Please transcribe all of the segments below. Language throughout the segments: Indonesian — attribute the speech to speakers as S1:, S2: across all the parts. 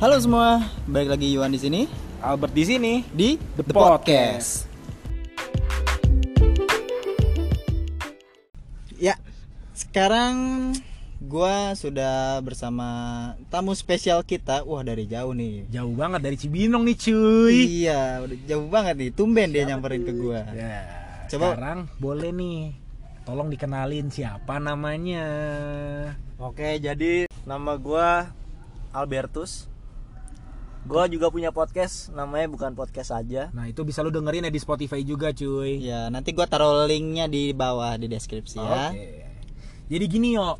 S1: Halo semua, balik lagi Yuan di sini
S2: Albert di sini.
S1: di
S2: The Podcast.
S1: Ya, sekarang gua sudah bersama tamu spesial kita. Wah, dari jauh nih.
S2: Jauh banget dari Cibinong nih cuy.
S1: Iya, udah jauh banget nih. Tumben dia nyamperin ke gua.
S3: Iya.
S2: Ya,
S1: Coba-
S2: sekarang boleh nih. Tolong dikenalin siapa namanya.
S3: Oke, jadi nama gua Albertus. Gua juga punya podcast, namanya bukan podcast aja.
S2: Nah, itu bisa lu dengerin ya di Spotify juga cuy.
S1: Ya, nanti gua taruh linknya di bawah di
S3: Iya.
S1: deskripsi ya.
S2: Oke. Jadi gini yo.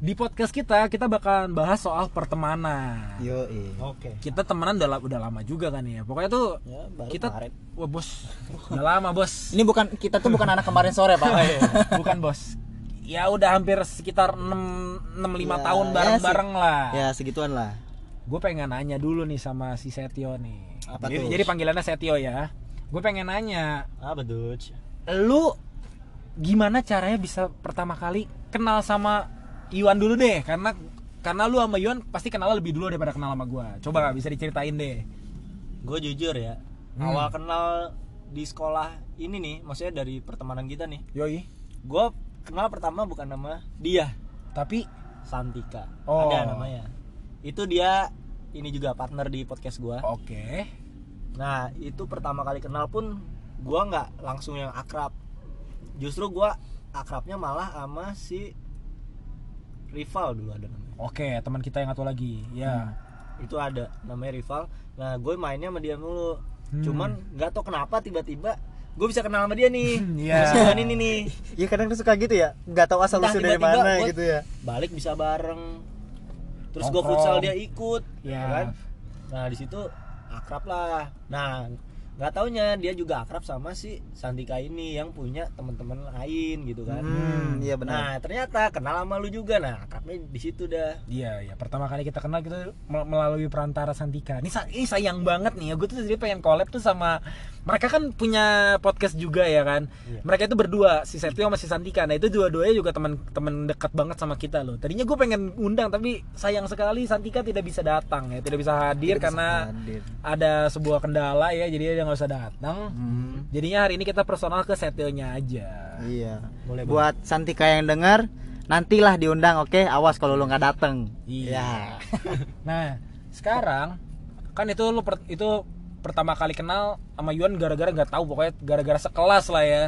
S2: Di podcast kita kita bakalan bahas soal pertemanan.
S1: Yo,
S3: Oke.
S2: Kita temenan udah, la- udah lama juga kan ya. Pokoknya tuh
S3: Ya, baru
S2: kita
S3: kemarin.
S2: Wah, bos. Udah lama, bos.
S1: Ini bukan kita tuh bukan anak kemarin sore, Pak.
S2: Bukan, bos. Ya udah hampir sekitar 6 6 5
S1: Ya,
S2: tahun
S1: ya,
S2: bareng-bareng lah.
S1: ya, segituan lah.
S2: gue pengen nanya dulu nih sama si Setio nih
S1: Apa
S2: jadi,
S1: tuh?
S2: jadi panggilannya Setio ya gue pengen nanya
S3: Apa tuh?
S2: lu gimana caranya bisa pertama kali kenal sama Iwan dulu deh karena karena lu sama Iwan pasti kenal lebih dulu daripada kenal sama gue coba nggak bisa diceritain deh
S3: Gue jujur ya, awal kenal di sekolah ini nih, maksudnya dari pertemanan kita nih.
S2: Hmm, yoi
S3: Gua kenal pertama bukan nama dia,
S2: tapi
S3: Santika.
S2: Oh.
S3: Ada namanya. Itu dia ini juga partner di podcast gua.
S2: oke
S3: Nah, itu pertama kali kenal pun gua nggak langsung yang akrab. Justru gua akrabnya malah sama si rival dulu ada namanya.
S2: oke teman kita yang satu lagi ya
S3: Itu ada namanya rival. Nah, gue mainnya sama dia mulu.
S2: Hmm.
S3: Cuman nggak tau kenapa tiba-tiba gue bisa kenal sama dia nih.
S2: Iya.
S3: Terus ini nih.
S1: Ya kadang tuh suka gitu ya, nggak tahu asal
S3: Entah
S1: usul dari
S3: Nah, tiba-tiba
S1: mana
S3: gua-
S1: gitu ya.
S3: Balik bisa bareng. Terus gue
S2: Nongkrong.
S3: futsal dia ikut,
S2: Ya.
S3: ya kan? Nah, di situ akrab lah. Nah, nggak taunya dia juga akrab sama si Santika ini yang punya teman-teman lain gitu kan.
S1: Hmm, iya benar.
S3: Nah ternyata kenal sama lu juga nah akrabnya di situ dah.
S2: Iya, ya. Pertama kali kita kenal kita mel- melalui perantara Santika. Ini, sa- ini sayang banget nih ya. Gue tuh jadi pengen collab tuh sama mereka kan punya podcast juga ya kan.
S3: Iya.
S2: Mereka itu berdua, si Setio sama si Santika. Nah, itu dua-duanya juga teman-teman dekat banget sama kita loh. Tadinya gue pengen undang tapi sayang sekali Santika tidak bisa datang ya, tidak bisa hadir
S3: iya,
S2: karena
S1: Hadir.
S2: ada sebuah kendala ya. Jadi dia nggak usah datang. Jadinya hari ini kita personal ke Setionya aja.
S1: Iya.
S3: Boleh,
S1: Buat Santika yang dengar, nantilah diundang, oke? Awas kalau lu nggak dateng.
S2: Iya. nah, sekarang kan itu lu per- itu pertama kali kenal sama Yuan gara-gara nggak tahu pokoknya gara-gara sekelas lah ya.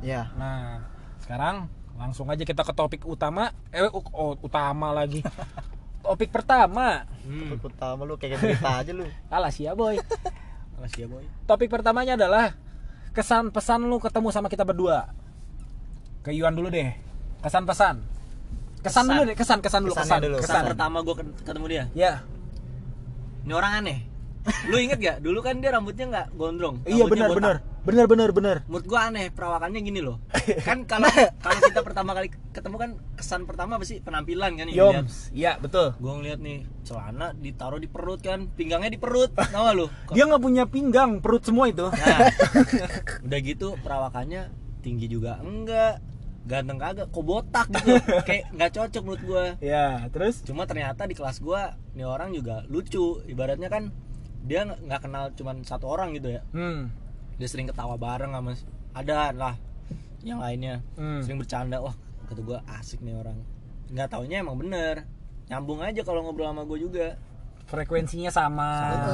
S1: Iya.
S2: Nah, sekarang langsung aja kita ke topik utama. Eh, u- oh, utama lagi. topik pertama.
S3: Hmm.
S1: Takut Pertama lu kayak berita aja lu.
S2: Alas ya, boy.
S3: Makasih ya boy.
S2: Topik pertamanya adalah kesan pesan lu ketemu sama kita berdua. Ke Yuan dulu deh. Kesan pesan. Kesan,
S3: Kesan.
S2: dulu deh, kesan kesan dulu,
S1: Kesannya
S2: kesan.
S1: dulu.
S3: Kesan
S2: Kesan.
S3: pertama gue ketemu dia.
S2: Ya.
S3: Ini orang aneh. Lu inget gak? Dulu kan dia rambutnya nggak gondrong.
S2: Iya
S3: rambutnya
S2: benar
S3: botak.
S2: benar. Benar benar benar.
S3: Menurut gue aneh perawakannya gini loh. Kan kalau kalau kita pertama kali ketemu kan kesan pertama pasti penampilan kan ini.
S2: Yoms, iya betul.
S3: Gue ngeliat nih celana ditaruh di perut kan, pinggangnya di perut, tau gak lu?
S2: Dia nggak punya pinggang, perut semua itu.
S3: Nah, udah gitu perawakannya tinggi juga enggak, ganteng kagak, kok botak gitu, kayak nggak cocok menurut gua.
S2: Ya, terus?
S3: Cuma ternyata di kelas gua nih orang juga lucu, ibaratnya kan dia nggak- nggak kenal cuman satu orang gitu ya,
S2: Hmm.
S3: dia sering ketawa bareng sama ada lah yang lainnya,
S2: Hmm.
S3: sering bercanda, wah kata gua asik nih orang, nggak taunya emang bener, nyambung aja kalau ngobrol sama gua juga.
S2: Frekuensinya sama.
S3: Sama.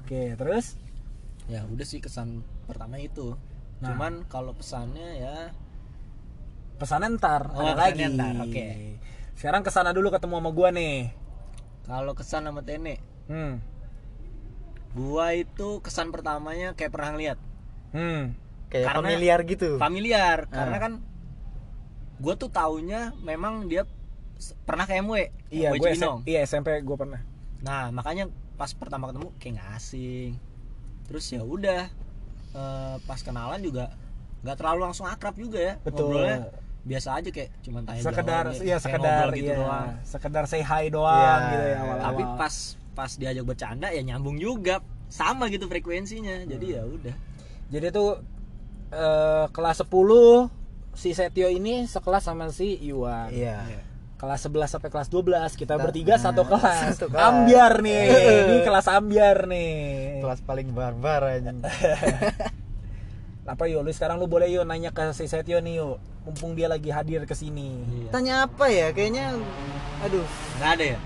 S2: Oke, terus?
S3: ya udah sih kesan pertama itu
S2: Nah.
S3: cuman kalau pesannya ya
S2: Pesanan ntar,
S3: Oh,
S2: ada lagi.
S3: pesannya ntar, oke.
S2: Sekarang kesana dulu ketemu sama gua nih.
S3: kalau kesan sama Tene
S2: Hmm.
S3: gua itu kesan pertamanya kayak pernah lihat
S2: Hmm.
S1: Kayak
S3: Karena-
S1: familiar gitu.
S3: familiar
S2: Ah.
S3: karena kan gua tuh taunya memang dia s- pernah ke MW
S2: Iya,
S3: MW
S2: gue
S3: Cibinong.
S2: iya SMP gue pernah.
S3: nah makanya pas pertama ketemu kayak nggak asing terus ya udah eh, pas kenalan juga nggak terlalu langsung akrab juga ya
S2: Betul.
S3: ngobrolnya biasa aja kayak cuman tanya
S2: sekedar
S3: jawab,
S2: iya
S3: Ah, kayak
S2: sekedar
S3: ngobrol gitu
S2: iya,
S3: doang
S2: sekedar say hi doang
S1: Iya.
S2: gitu ya awal-awal.
S3: tapi pas pas diajak bercanda ya nyambung juga sama gitu frekuensinya jadi
S2: Hmm.
S3: ya udah
S2: Jadi tuh eh, kelas 10 si Setio ini sekelas sama si Iwan.
S1: Iya.
S2: kelas 11 sampai kelas 12 kita
S1: Kita-
S2: bertiga satu
S1: nah,
S2: kelas.
S1: satu kelas.
S2: Ambiar nih.
S1: Heeh.
S2: Ini kelas ambiar nih.
S1: kelas paling barbar anjing
S2: Apa yuk lu sekarang lu boleh yuk nanya ke si Setio nih yuk. Mumpung dia lagi hadir ke sini.
S1: tanya apa ya kayaknya aduh
S3: Nggak ada ya?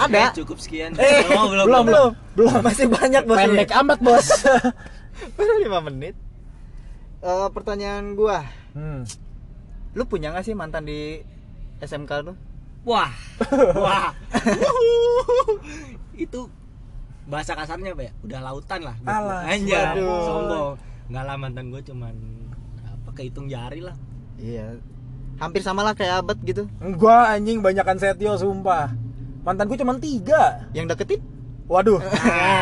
S1: Ada.
S3: Oke, cukup sekian.
S2: Eh,
S3: Oh,
S2: belum, belum.
S1: masih banyak bos iya.
S2: Pendek amat, Bos.
S1: baru lima menit Eh, pertanyaan gua
S2: hmm.
S1: lu punya gak sih mantan di SMK lu
S3: Wah. Wah. itu bahasa kasarnya apa ya? Udah lautan lah. gua.
S2: Alah,
S3: Anjay,
S1: waduh.
S3: sombong. Enggak lah mantan gue cuman apa kehitung jari lah.
S1: iya hampir sama lah kayak abad gitu
S2: Gua anjing banyakan Setio sumpah. Mantan gue cuma tiga.
S1: yang deketin
S2: Waduh.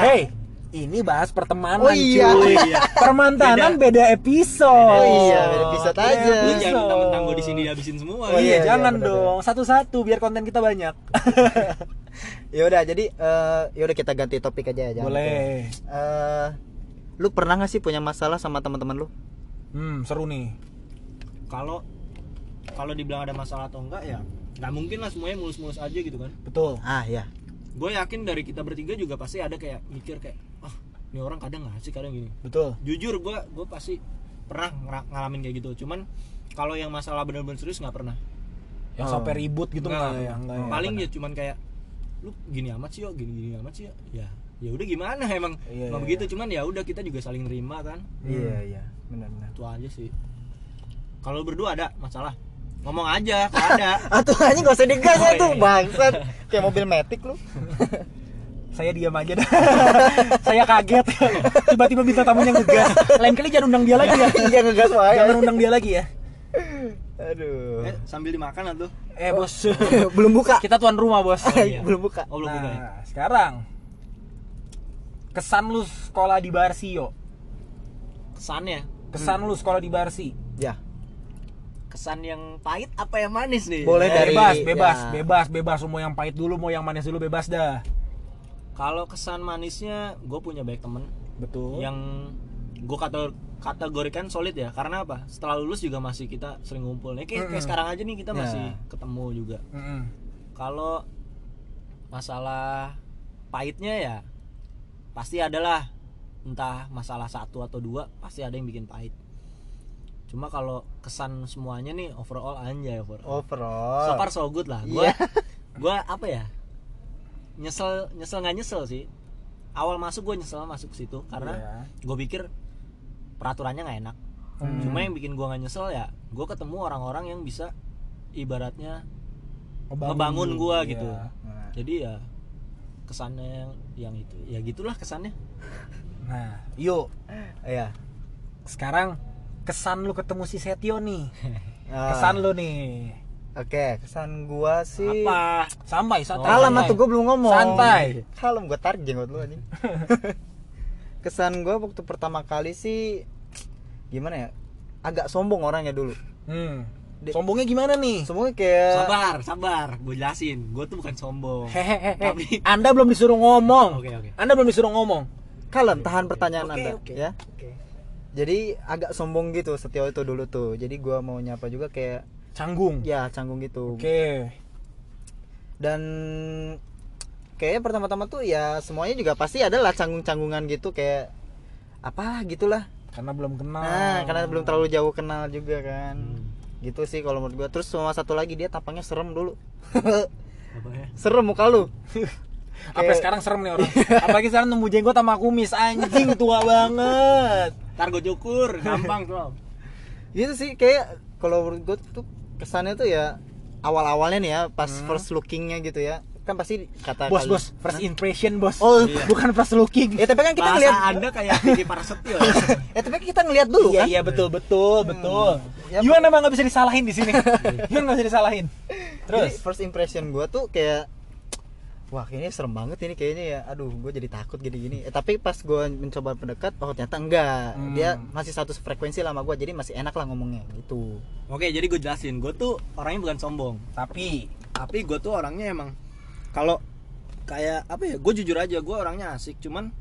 S2: hey, ini bahas pertemanan
S1: Oh iya.
S2: cuy.
S3: Oh iya.
S2: Permantanan beda, episode.
S1: Oh iya, beda episode
S2: Beda
S1: aja.
S3: Lu
S1: Bisa.
S3: jangan mentang-mentang gue di sini dihabisin semua.
S2: Oh
S1: Iya,
S2: iya,
S1: iya,
S2: jangan
S1: benar-benar.
S2: dong. Satu-satu biar konten kita banyak.
S1: ya udah jadi eh, ya udah kita ganti topik aja ya jangan itu.
S2: Boleh.
S1: Eh, lu pernah gak sih punya masalah sama teman-teman lu
S2: Hmm, seru nih.
S3: Kalau kalau dibilang ada masalah atau enggak ya nggak mungkin lah semuanya mulus-mulus aja gitu kan.
S2: Betul.
S1: ah ya
S3: Gue yakin dari kita bertiga juga pasti ada kayak mikir kayak ah ini orang kadang nggak sih kadang gini.
S2: Betul.
S3: jujur gue gue pasti pernah ngera- ngalamin kayak gitu cuman kalau yang masalah bener-bener serius nggak pernah
S2: Yang
S1: Oh.
S2: sampai ribut gitu enggak, ya? Enggak ya?
S3: paling ya cuman kayak lu gini amat sih yo gini gini amat sih yo ya ya udah gimana emang
S2: Iya,
S3: emang
S2: iya,
S3: begitu cuman ya udah kita juga saling nerima kan
S1: iya iya benar-benar
S3: itu aja sih kalau berdua ada masalah ngomong aja kalau ada
S1: Atuh Ah, anjing gak usah digas
S3: Oh,
S1: ya tuh
S3: iya.
S1: bangsat kayak mobil metik lu.
S2: Saya diam aja dah. Saya kaget. Tiba-tiba bintang tamunya ngegas. Lain kali jangan undang dia lagi ya.
S1: Iya ngegas wae.
S2: Jangan
S1: anjing.
S2: undang dia lagi ya.
S1: Aduh.
S3: eh, sambil dimakan atau
S2: Eh,
S1: Oh,
S2: Bos.
S1: Belum buka.
S2: Kita tuan rumah, Bos.
S3: iya.
S1: Belum buka.
S3: oh belum
S2: nah,
S3: buka ya?
S2: sekarang kesan lu sekolah di Barsio.
S3: kesannya
S2: Kesan
S1: Hmm.
S2: lu sekolah di Barsi.
S1: Ya.
S3: kesan yang pahit apa yang manis nih Eh,
S1: Boleh dari-
S2: Eh, bebas, bebas,
S1: ya.
S2: bebas, bebas. Mau yang pahit dulu, mau yang manis dulu, bebas dah.
S3: kalau kesan manisnya gue punya banyak temen
S2: Betul.
S3: yang gue kata kategorikan solid ya karena apa setelah lulus juga masih kita sering ngumpul nih kayak, kayak
S2: Mm-mm. Iya.
S3: sekarang aja nih kita
S1: Ya.
S3: masih ketemu juga
S2: Mm-mm.
S3: kalau masalah pahitnya ya pasti adalah entah masalah satu atau dua pasti ada yang bikin pahit cuma kalau kesan semuanya nih overall anjay overall so
S1: Overall.
S3: far so good lah gue
S1: Iya.
S3: gua apa ya nyesel nyesel nggak nyesel sih awal masuk gue nyesel masuk situ karena
S2: Iya.
S3: gue pikir peraturannya nggak enak
S2: Hmm.
S3: cuma yang bikin gue nggak nyesel ya gue ketemu orang-orang yang bisa ibaratnya
S2: lu,
S3: ngebangun gue
S2: iya.
S3: gitu
S1: Nah,
S3: jadi ya kesannya yang, yang itu ya gitulah kesannya
S2: Nah, yuk
S1: Iya.
S2: sekarang kesan lu ketemu si Setio nih.
S1: Ah,
S2: Kesan lu nih.
S1: Oke, kesan gua sih
S3: apa
S2: Sampai santai.
S1: Kalem
S2: santai.
S1: tuh gua belum ngomong.
S2: Santai.
S1: Kalem gua tarik jenggot lu anjing. kesan gua waktu pertama kali sih gimana ya? Agak sombong orangnya dulu.
S2: Hmm.
S1: Di-
S2: Sombongnya gimana nih?
S1: Semuanya
S2: Eh.
S1: kayak
S3: sabar sabar gue jelasin gue tuh bukan sombong
S2: Hehehe. Anda belum disuruh ngomong.
S3: Oke, oke.
S2: Anda belum disuruh ngomong.
S1: kalem tahan pertanyaan
S2: Oke,
S1: Anda
S2: oke.
S1: ya. Jadi agak sombong gitu Setio itu dulu tuh. Jadi gua mau nyapa juga kayak
S2: Canggung.
S1: ya canggung gitu.
S2: Oke.
S1: dan kayaknya pertama-tama tuh ya semuanya juga pasti adalah canggung-canggungan gitu kayak apalah gitulah
S2: Karena belum kenal.
S1: nah karena belum terlalu jauh kenal juga kan
S3: Hmm.
S1: gitu sih kalau menurut gua terus sama satu lagi dia tampangnya serem dulu
S3: Apa ya?
S1: serem muka lu
S2: Apa sekarang serem nih orang. Apalagi sekarang nemu jenggot sama kumis anjing tua banget.
S3: ntar gue cukur gampang tuh
S1: gitu sih kayak kalau menurut gua tuh kesannya tuh ya awal-awalnya nih ya pas first lookingnya gitu ya kan pasti kata
S2: Hmm. Bos,
S1: kali-
S2: bos, first impression, bos.
S1: Nah. Oh.
S2: bukan first looking.
S1: ya tapi kan kita
S3: bahasa
S1: ngeliat
S3: anda kayak Vicky Prasetyo ya?
S1: ya tapi kan kita ngeliat dulu
S2: iya,
S1: kan
S2: iya betul betul betul.
S1: Ya,
S2: Yuan emang nggak bisa disalahin di sini. Yuan nggak bisa disalahin.
S1: Terus
S2: Terus
S1: first impression gua tuh kayak wah kayaknya serem banget ini kayaknya ya aduh gue jadi takut gini gini eh, tapi pas gua mencoba mendekat oh ternyata enggak
S2: Hmm.
S1: dia masih satu frekuensi lah sama gue jadi masih enak lah ngomongnya gitu
S3: Hmm. oke jadi gue jelasin gue tuh orangnya bukan sombong
S2: tapi
S3: tapi gue tuh orangnya emang kalau kayak apa ya gue jujur aja gue orangnya asik cuman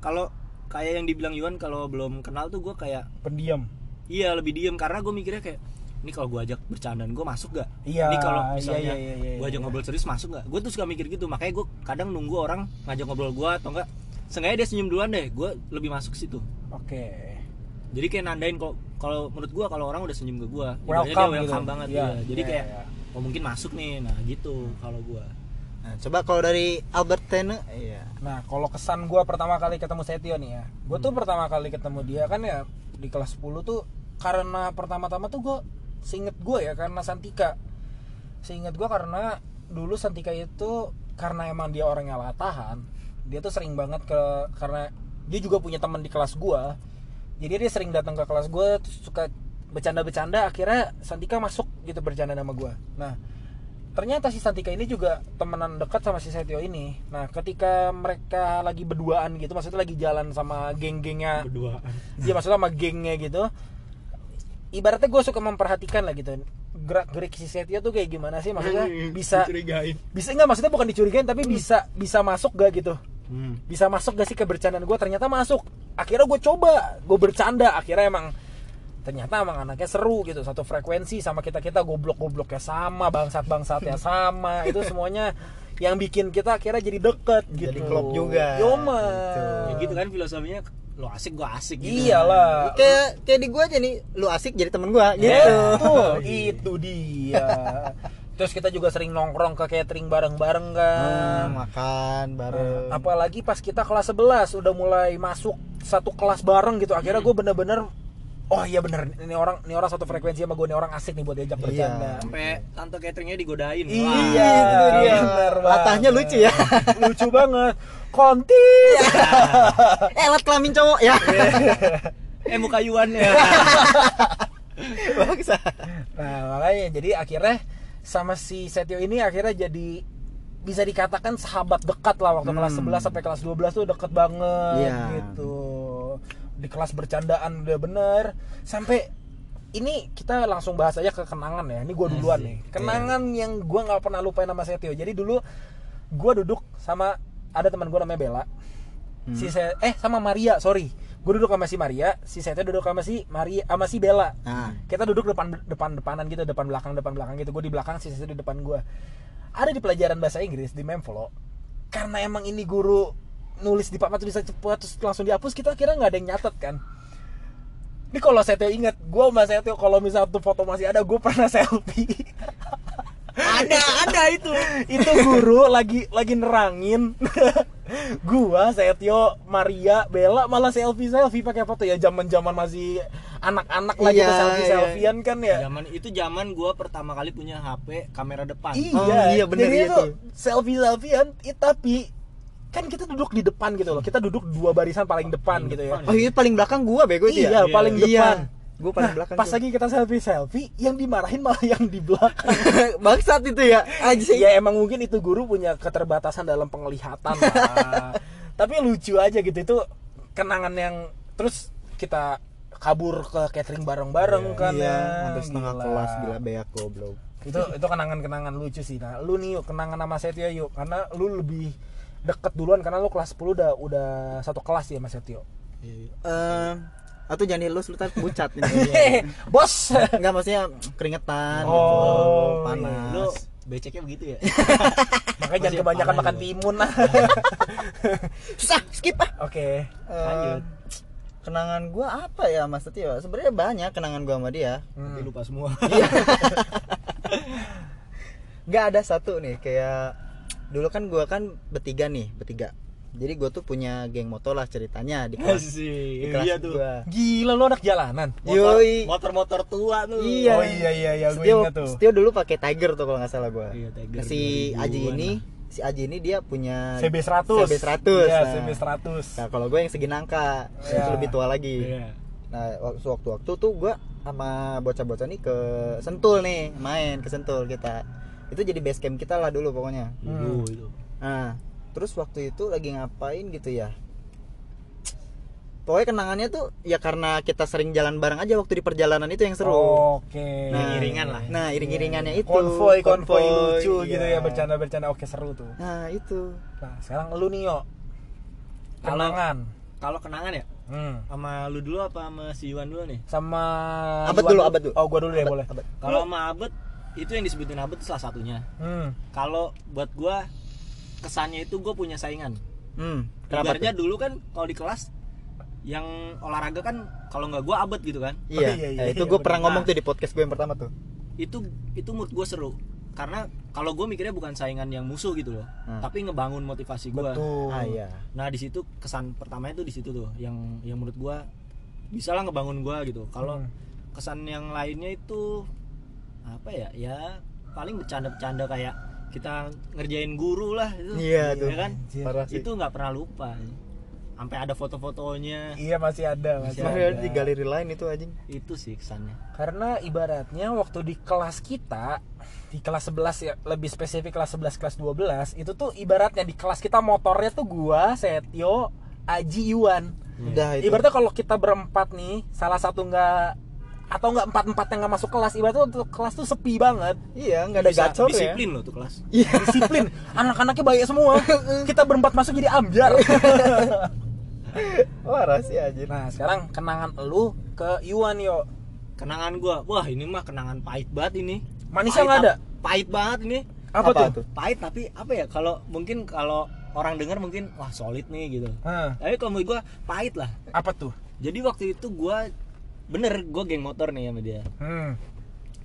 S3: kalau kayak yang dibilang Yuan kalau belum kenal tuh gue kayak
S2: pendiam.
S3: iya lebih diem karena gue mikirnya kayak ini kalau gue ajak bercandaan gue masuk gak
S2: Iya,
S3: ini kalau
S2: iya,
S3: misalnya
S2: iya, iya, iya,
S3: gue ajak
S2: iya.
S3: ngobrol serius masuk gak gue tuh suka mikir gitu makanya gue kadang nunggu orang ngajak ngobrol gue atau enggak sengaja dia senyum duluan deh gue lebih masuk ke situ
S2: Oke.
S3: jadi kayak nandain kalau kalau menurut gue kalau orang udah senyum ke gue
S2: Welcome
S3: dia welcome
S2: gitu.
S3: banget
S2: Iya,
S3: ya jadi
S2: iya,
S3: kayak
S2: iya.
S3: oh mungkin masuk nih nah gitu kalau gue
S1: Nah, coba kalau dari Albert Tene, iya.
S2: Nah, kalau kesan gua pertama kali ketemu Setio nih ya. Gua tuh pertama kali ketemu dia kan ya di kelas 10 tuh karena pertama-tama tuh gua seinget gua ya karena Santika. Seinget gua karena dulu Santika itu karena emang dia orangnya latahan, dia tuh sering banget ke karena dia juga punya teman di kelas gua. Jadi dia sering datang ke kelas gua terus suka bercanda-bercanda akhirnya Santika masuk gitu bercanda sama gua. Nah, ternyata si Santika ini juga temenan dekat sama si Setio ini. Nah, ketika mereka lagi berduaan gitu, maksudnya lagi jalan sama geng-gengnya,
S3: berduaan
S2: dia Iya, maksudnya sama gengnya gitu. Ibaratnya gue suka memperhatikan lah gitu gerak gerik si Setio tuh kayak gimana sih maksudnya
S1: Hmm, iya.
S2: bisa
S3: curigain
S2: bisa nggak maksudnya bukan dicurigain tapi bisa bisa masuk gak gitu
S3: hmm.
S2: bisa masuk gak sih ke bercandaan gue ternyata masuk akhirnya gue coba gue bercanda akhirnya emang ternyata emang anaknya seru gitu satu frekuensi sama kita kita goblok gobloknya sama bangsat bangsatnya sama itu semuanya yang bikin kita akhirnya jadi deket gitu
S1: Jadi klop juga.
S2: Yoma.
S3: ya gitu kan filosofinya lo asik gue asik gitu
S2: iyalah
S1: Kayak kayak di gua aja nih, lu asik jadi temen gua
S2: Eh.
S1: gitu.
S2: Betul, itu dia terus kita juga sering nongkrong ke catering bareng bareng kan
S1: Hmm, makan bareng.
S2: Nah, apalagi pas kita kelas 11 udah mulai masuk satu kelas bareng gitu. Akhirnya gue bener-bener oh iya bener ini orang ini orang satu frekuensi sama gue ini orang asik nih buat diajak
S1: Iya.
S2: bercanda.
S3: sampai tante cateringnya digodain
S2: Iya, itu dia. Bener banget.
S1: Latahnya lucu ya.
S2: Lucu banget. Konti.
S1: eh, lat kelamin cowok ya.
S2: Iya.
S3: eh muka Yuannya
S1: Bangsa.
S2: Nah, makanya jadi akhirnya sama si Setio ini akhirnya jadi bisa dikatakan sahabat dekat lah waktu kelas 11 sampai kelas 12 tuh deket banget
S1: Iya.
S2: gitu. Di kelas bercandaan udah bener sampai ini kita langsung bahas aja ke kenangan ya. Ini gua duluan nih. Kenangan yang gua nggak pernah lupain sama Setio. Jadi dulu gua duduk sama ada teman gua namanya Bella. Si Se- eh sama Maria, sorry. Gue duduk sama si Maria, si Setio duduk sama si Maria sama si Bella
S1: Nah,
S2: kita duduk depan depan depanan gitu depan belakang depan belakang gitu gue di belakang sisi di depan gue ada di pelajaran bahasa Inggris di Memflo karena emang ini guru nulis di papan tulisan cepat terus langsung dihapus kita akhirnya nggak ada yang nyatet kan ini kalau Setio ingat gue sama Setio kalau misalnya tuh foto masih ada gue pernah selfie
S3: ada ada itu
S2: itu guru lagi lagi nerangin gua Setio Maria Bella malah selfie selfie pakai foto ya zaman zaman masih anak-anak lagi
S1: Iya,
S2: tuh selfie selfiean kan ya
S3: zaman itu zaman gue pertama kali punya HP kamera depan
S2: Iya,
S1: Oh, iya, bener,
S2: jadi
S1: iya
S2: itu
S1: tuh.
S2: selfie selfiean eh, tapi kan kita duduk di depan gitu loh. Kita duduk dua barisan paling depan gitu ya.
S1: oh, itu paling belakang gua bego itu
S2: Iya,
S1: ya.
S2: paling depan.
S1: Gua paling belakang.
S2: Nah, Pas
S1: tuh.
S2: lagi kita selfie selfie yang dimarahin malah yang di belakang.
S1: bangsat itu ya. Aji.
S2: ya emang mungkin itu guru punya keterbatasan dalam penglihatan lah. tapi lucu aja gitu itu kenangan yang terus kita kabur ke catering bareng-bareng kan
S1: Iya,
S2: ya.
S1: hampir setengah
S2: Gila.
S1: kelas gila beak goblok.
S2: itu itu kenangan-kenangan lucu sih nah lu nih yuk kenangan sama Setio yuk karena lu lebih deket duluan karena lu kelas 10 udah udah satu kelas ya sama Setio
S1: Eh, atau jangan dilus lu tak bucat ini.
S2: Hehehe, Iya. bos
S1: Enggak maksudnya keringetan
S2: Oh,
S1: gitu, panas.
S3: lu beceknya begitu ya
S2: makanya jangan
S3: Masih
S2: kebanyakan
S3: parah
S2: makan
S3: juga.
S2: timun lah
S1: susah skip ah.
S2: oke
S1: Eh,
S3: Lanjut.
S1: kenangan gua apa ya Mas Setio? Sebenarnya banyak kenangan gua sama dia.
S3: tapi
S2: Hmm.
S3: lupa semua
S1: nggak ada satu nih kayak dulu kan gua kan bertiga nih bertiga jadi gua tuh punya geng motor lah ceritanya di kelas di
S3: sih
S1: kelas
S3: iya tuh
S1: gua.
S2: gila lu anak jalanan
S3: motor,
S1: Yoi.
S3: motor-motor tua tuh
S1: iya
S2: Oh, iya, iya, iya, gua
S1: Setio,
S2: ingat tuh.
S1: Setio dulu pakai Tiger tuh kalau nggak salah gua
S3: Iya, Tiger
S1: si
S3: 2000-an
S1: Aji ini
S3: lah.
S1: si Aji ini dia punya
S2: CB 100
S1: CB 100
S2: iya
S1: nah.
S2: CB 100
S1: Nah, kalau gue yang segi nangka
S2: Iya.
S1: itu lebih tua lagi
S3: Iya.
S1: Nah, waktu- waktu-waktu tuh gua sama bocah-bocah nih ke Sentul nih, main ke Sentul kita. Itu jadi base camp kita lah dulu pokoknya.
S3: Dulu itu
S1: Nah, terus waktu itu lagi ngapain gitu ya? Pokoknya kenangannya tuh ya karena kita sering jalan bareng aja waktu di perjalanan itu yang seru.
S2: oke Iya.
S3: iringan lah.
S1: Nah, iring-iringannya itu.
S2: konvoy konvoy lucu
S1: iya.
S2: gitu ya bercanda bercanda oke seru tuh
S1: Nah, itu.
S2: nah sekarang lu nih yuk
S3: Kalau-
S2: kenangan
S3: kalau kenangan ya
S2: Hmm.
S3: sama lu dulu apa sama si Iwan dulu nih
S2: Sama
S1: Abed
S2: Iwan
S1: dulu, abed dulu.
S2: Oh, gua dulu ya
S1: Abed,
S2: boleh.
S1: abed.
S3: kalau sama Abed itu yang disebutin Abed itu salah satunya
S2: Hmm.
S3: kalau buat gua kesannya itu gue punya saingan
S1: Hmm. Kenapa
S3: Ibaratnya
S1: tuh?
S3: dulu kan kalau di kelas yang olahraga kan kalau nggak gua abet gitu kan
S1: Iya,
S2: iya, iya,
S1: Eh, itu
S2: iya,
S1: gue
S2: bener.
S1: pernah ngomong tuh di podcast gue yang pertama tuh.
S3: itu itu mood gue seru karena kalau gue mikirnya bukan saingan yang musuh gitu loh
S1: Hmm.
S3: tapi ngebangun motivasi gua
S2: Betul.
S1: Ah iya.
S3: nah di situ kesan pertamanya tuh di situ tuh yang yang menurut gua bisa lah ngebangun gua gitu kalau
S2: Hmm.
S3: kesan yang lainnya itu apa ya ya paling bercanda-bercanda kayak kita ngerjain guru lah itu
S1: Iya tuh.
S3: ya kan
S2: Anjir.
S1: Parah sih.
S3: itu nggak pernah lupa sampai ada foto-fotonya
S2: Iya masih ada, masih
S1: Masih ada
S2: ada.
S1: di galeri lain itu anjing.
S3: itu sih kesannya
S2: Karena ibaratnya waktu di kelas kita di kelas 11 ya lebih spesifik kelas 11 kelas 12 itu tuh ibaratnya di kelas kita motornya tuh gua, Setio, Aji, Iwan.
S1: Udah Nah, itu.
S2: Iya. Ibaratnya kalau kita berempat nih salah satu nggak atau nggak empat empat yang nggak masuk kelas ibaratnya untuk kelas tuh sepi banget
S1: iya, nggak ada
S3: Bisa
S1: gacor ya.
S3: disiplin loh tuh kelas
S1: Iya.
S2: disiplin anak-anaknya baik semua kita berempat masuk jadi ambiar
S1: Parah sih anjing.
S2: nah sekarang kenangan elu ke Iwan yo
S3: kenangan gua wah ini mah kenangan pahit banget ini
S2: Manisnya
S3: Pahit
S2: nggak ada?
S3: ap- pahit banget ini
S2: apa,
S1: Apa
S2: tuh,
S1: tuh?
S3: pahit tapi apa ya kalau mungkin kalau orang dengar mungkin wah solid nih gitu
S2: Hah,
S3: tapi kalau menurut gua pahit lah
S2: apa tuh
S3: jadi waktu itu gua bener gua geng motor nih sama dia
S2: hmm.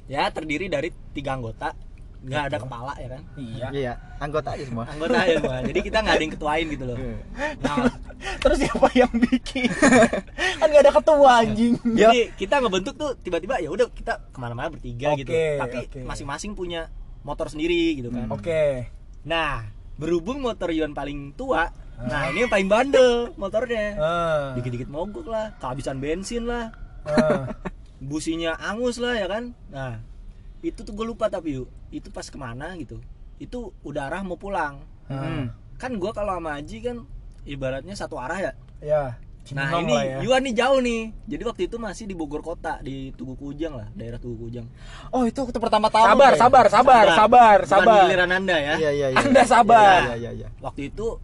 S3: ya terdiri dari tiga anggota nggak ada kepala ya kan
S2: iya
S1: Iya, anggota aja semua.
S3: anggota ya semua jadi kita nggak ada yang ketuain gitu loh
S2: Iya.
S3: nah
S2: Terus siapa yang bikin? kan gak ada ketua anjing. Ya.
S3: Jadi kita ngebentuk tuh tiba-tiba ya udah kita kemana-mana bertiga
S2: Oke,
S3: gitu. Tapi
S2: oke.
S3: masing-masing punya motor sendiri gitu kan.
S1: Hmm.
S2: Oke.
S3: Nah berhubung motor Iwan paling tua, nah ini yang paling bandel motornya.
S2: Ah,
S3: Dikit-dikit mogok lah, kehabisan bensin lah,
S2: ah.
S3: businya angus lah ya kan. Nah itu tuh gue lupa tapi yuk itu pas kemana gitu. Itu udah arah mau pulang.
S1: Hmm.
S3: Kan gua kalau sama Aji kan ibaratnya satu arah ya.
S2: Ya.
S3: Nah
S2: Cimeng
S3: ini
S2: lah ya.
S3: Iwan nih jauh nih. Jadi waktu itu masih di Bogor kota di Tugu Kujang lah, daerah Tugu Kujang.
S1: Oh, itu waktu pertama tahu.
S2: Sabar,
S1: kayak.
S2: sabar, ya? sabar, sabar,
S3: Bukan
S2: sabar.
S3: Giliran Anda ya.
S1: Iya, iya, iya.
S2: Anda sabar.
S1: Iya, iya, iya.
S3: Waktu itu